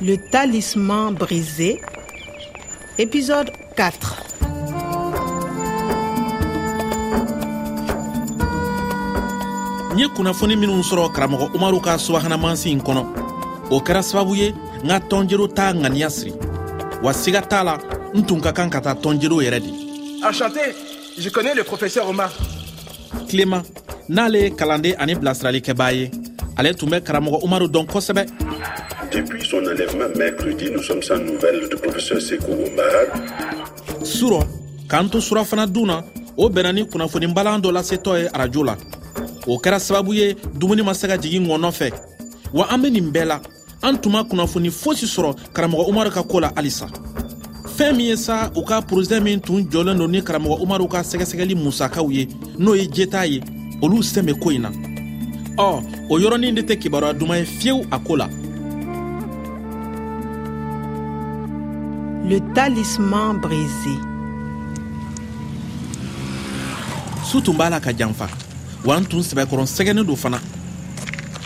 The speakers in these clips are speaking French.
Le talisman brisé, épisode 4. n ye kunnafoni minw sɔrɔ karamɔgɔ umaru ka subahanamasi in kɔnɔ o kɛra sababu ye n ka tɔnjeliw t'a ŋaniya siri wa siga t'a la n tun ka kan ka taa tɔnjeliw yɛrɛ de Enchanté, je connais le professeur Omar. tilema n'ale ye kalanden ani bilasiralikɛbaa ye ale tun bɛ karamɔgɔ umaru dɔn kosɛbɛ Depuis son enlèvement mercredi, nous sommes sans nouvelles du professeur Sekou Omar. surɔ k'an to surafana dun na o bɛnna ni kunnafonibalan dɔ lasetɔ ye arajo la o kɛra sababu ye dumuni ma se ka jigin ŋɔ nɔfɛ wa an be nin bɛɛ la an tun ma kunnafoni fosi sɔrɔ karamɔgɔ umaru ka koo la halisa fɛɛn min ye sa u ka porozɛ min tun jɔlen don ni karamɔgɔ umaru ka sɛgɛsɛgɛli musakaw ye n'o ye jeta ye olu sen be ko in na ɔ o yɔrɔnin de tɛ kibaruya duman ye fiyewu a koo la Le talisman brisé. su tun b'a la ka janfa wa n tun sɛbɛkɔrɔ sɛgɛnnen don fana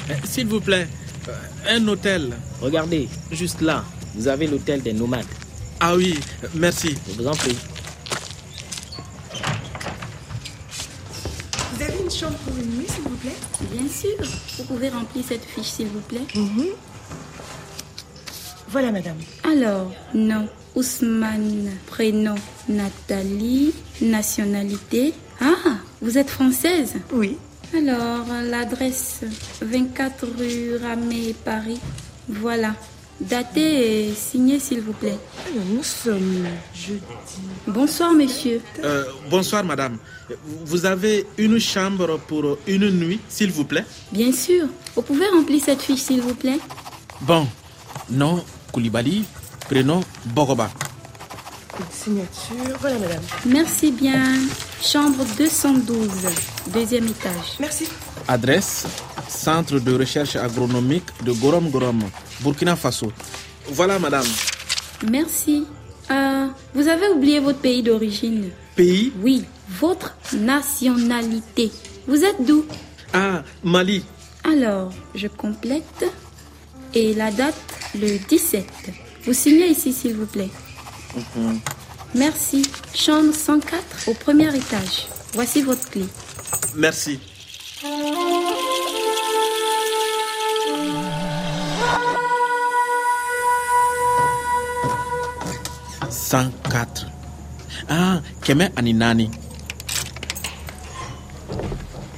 Eh, S'il vous plaît, euh, un hôtel. Regardez, juste là, vous avez l'hôtel des nomades. Ah oui, merci. Je vous en prie. Vous avez une chambre pour une nuit, s'il vous plaît Bien sûr, vous pouvez remplir cette fiche s'il vous plaît. Voilà, madame. Alors, nom, Ousmane, prénom, Nathalie, nationalité. Ah, vous êtes française Oui. Alors, l'adresse 24 rue Ramée, Paris. Voilà. Datez et signez s'il vous plaît. Alors, nous sommes jeudi. Bonsoir monsieur. Euh, bonsoir madame. Vous avez une chambre pour une nuit, s'il vous plaît Bien sûr, vous pouvez remplir cette fiche s'il vous plaît. Bon, nom Koulibaly, prénom Bogoba. Une signature. Voilà, madame. Merci bien. Chambre 212, deuxième étage. Merci. Adresse Centre de recherche agronomique de Gorom Gorom, Burkina Faso. Voilà madame. Merci. Euh, vous avez oublié votre pays d'origine. Pays Oui, votre nationalité. Vous êtes d'où Ah, Mali. Alors, je complète. Et la date, le 17. Vous signez ici, s'il vous plaît. Merci. Chambre 104 au premier étage. Voici votre clé. Merci. Cent quatre. Ah, kɛmɛ ani naani.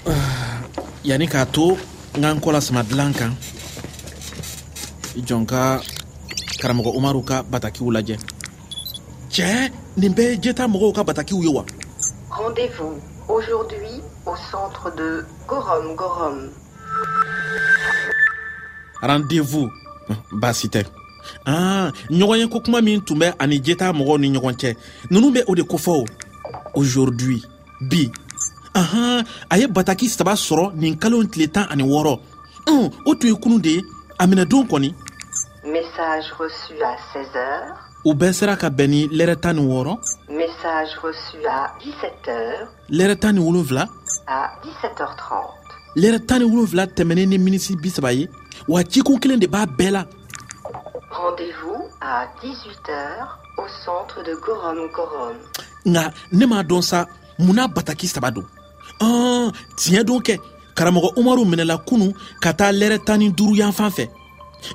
Ah, Yanni k'a to n ka n kɔ lasama dilan kan. I jɔ n ka karamɔgɔ umaru ka batakiw lajɛ. Cɛ nin bɛɛ ye jeta mɔgɔw ka batakiw ye wa. Rendez-vous aujourd'hui au centre de Gorom Gorom. rendez-vous baasi tɛ ah, ɲɔgɔn ye ko kuma min tun bɛ ani jeta mɔgɔw ni ɲɔgɔn cɛ nunu bɛ o de kofɔ o aujourd'hui bi ahan a ye bataki saba sɔrɔ nin kalo tile tan ani wɔɔrɔ Un, o tun ye kunu de ye a minɛdon kɔni Message reçu à 16h. u bɛɛ sera ka bɛn ni lɛrɛ tan ni wɔɔrɔ Message reçu à 17h lɛrɛ tan ni wolonfila à 17h30. lɛrɛ tan ni wolonfila tɛmɛnen ni minisi bisaba ye wa cikun kelen de b'a bɛɛ la Rendez-vous à 18h au centre de Gorom Gorom. nga ne m'a dɔn sa mun n'a bataki saba don ɔn tiɲɛ don kɛ karamɔgɔ umaru minɛla kunu ka taa lɛrɛ tan ni duuru yan fan fɛ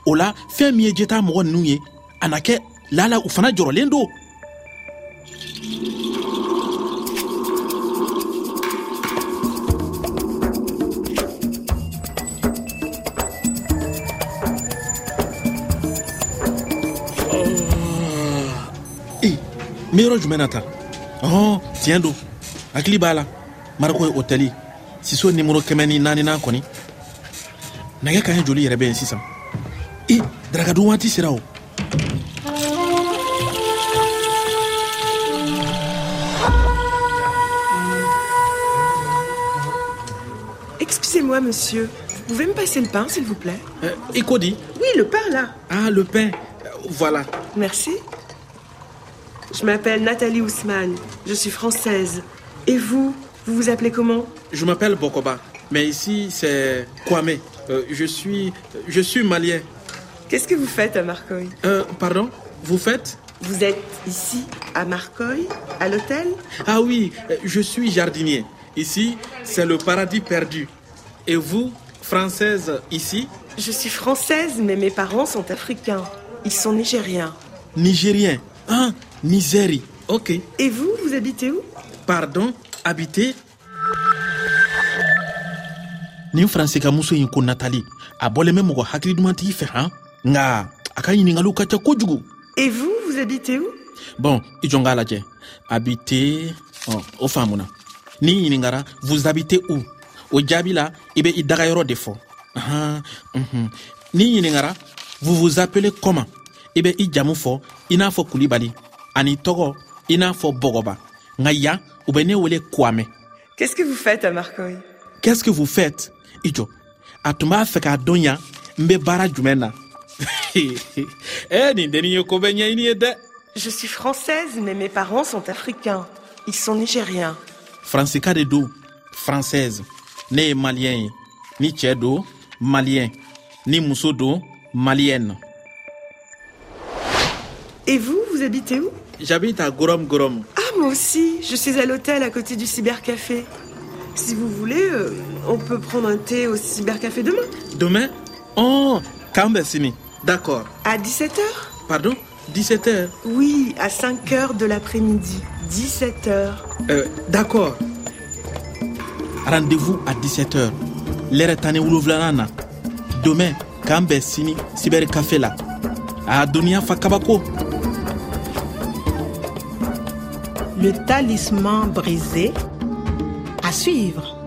o la fɛn min ye jeta mɔgɔ ninnu ye a na kɛ lala u fana jɔrɔlen don e n be yɔrɔ jumɛn na tan ɔn tiɲɛ don hakili b'a la mariko ye hotɛli siso nimoro kɛmɛ ni naaninan kɔni nɛgɛ ka ɲɛ joli yɛrɛ bɛ yen sisan e darakadun waati sera o Excusez-moi, monsieur. Vous pouvez me passer le pain, s'il vous plaît Euh, i ko di Oui, le pain, là. ah le pain Euh, voilà Merci. Je m'appelle Nathalie Ousmane. Je suis française. Et vous Vous vous appelez comment Je m'appelle Bokoba, mais ici c'est Kwame. Euh, je suis je suis malien. Qu'est-ce que vous faites à Marcoy Euh, pardon Vous faites Vous êtes ici, à Marcoy, à l'hôtel Ah oui, euh, je suis jardinier. Ici, c'est le paradis perdu. Et vous, française, ici Je suis française, mais mes parents sont africains. Ils sont nigériens. Nigérien. Ah, Nigerie. Ok. Et vous, vous habitez où Pardon, habité nin faransi ka muso in ko natali a bɔlen bɛ mɔgɔ hakili dumantigi fɛ han nka a ka ɲiningaliw ka ca kojugu Et vous, vous habitez où bɔn i jɔn k'a lajɛ habite oh, ɔ o faamuna n'i ɲiningara vous habitez où o jaabi la i bɛ i dagayɔrɔ de fɔ ɔnhɔn, unhun. n'i ɲiningara mhm. vous vous appelez comment Eh i bɛ i jamu fɔ i n'a fɔ kulibali ani tɔgɔ i n'a fɔ bɔgɔba nka yan u bɛ ne wele kuamɛ Qu'est-ce que vous faites à Marcoy qu'est-ce que vous faites i jɔ a tun b'a fɛ k'a dɔn yan n bɛ baara jumɛn na ɛ nin dennin ye ko bɛ ɲɛɲini ye dɛ Je suis française, mais mes parents sont africains. Ils sont nigériens. faransika de don française ne ye maliyɛn ye ni cɛɛ don maliyɛn ni muso don maliyɛne Et vous, vous habitez où j'habite à gorom gorom Ah, moi aussi, je suis à l'hôtel à côté du cybercafé. Si vous voulez, euh, on peut prendre un thé au cybercafé demain, demain ɔ k'an bɛ sini d'accord à 17h pardon 17 heures Oui, à 5h de l'après-midi, 17h. Euh, d'accord. Rendez-vous à 17h. L'heure tani wolonfilanan na. Demain, k'an bɛn sini cyber café la. A doniya fa kabako. Le talisman brisé. À suivre.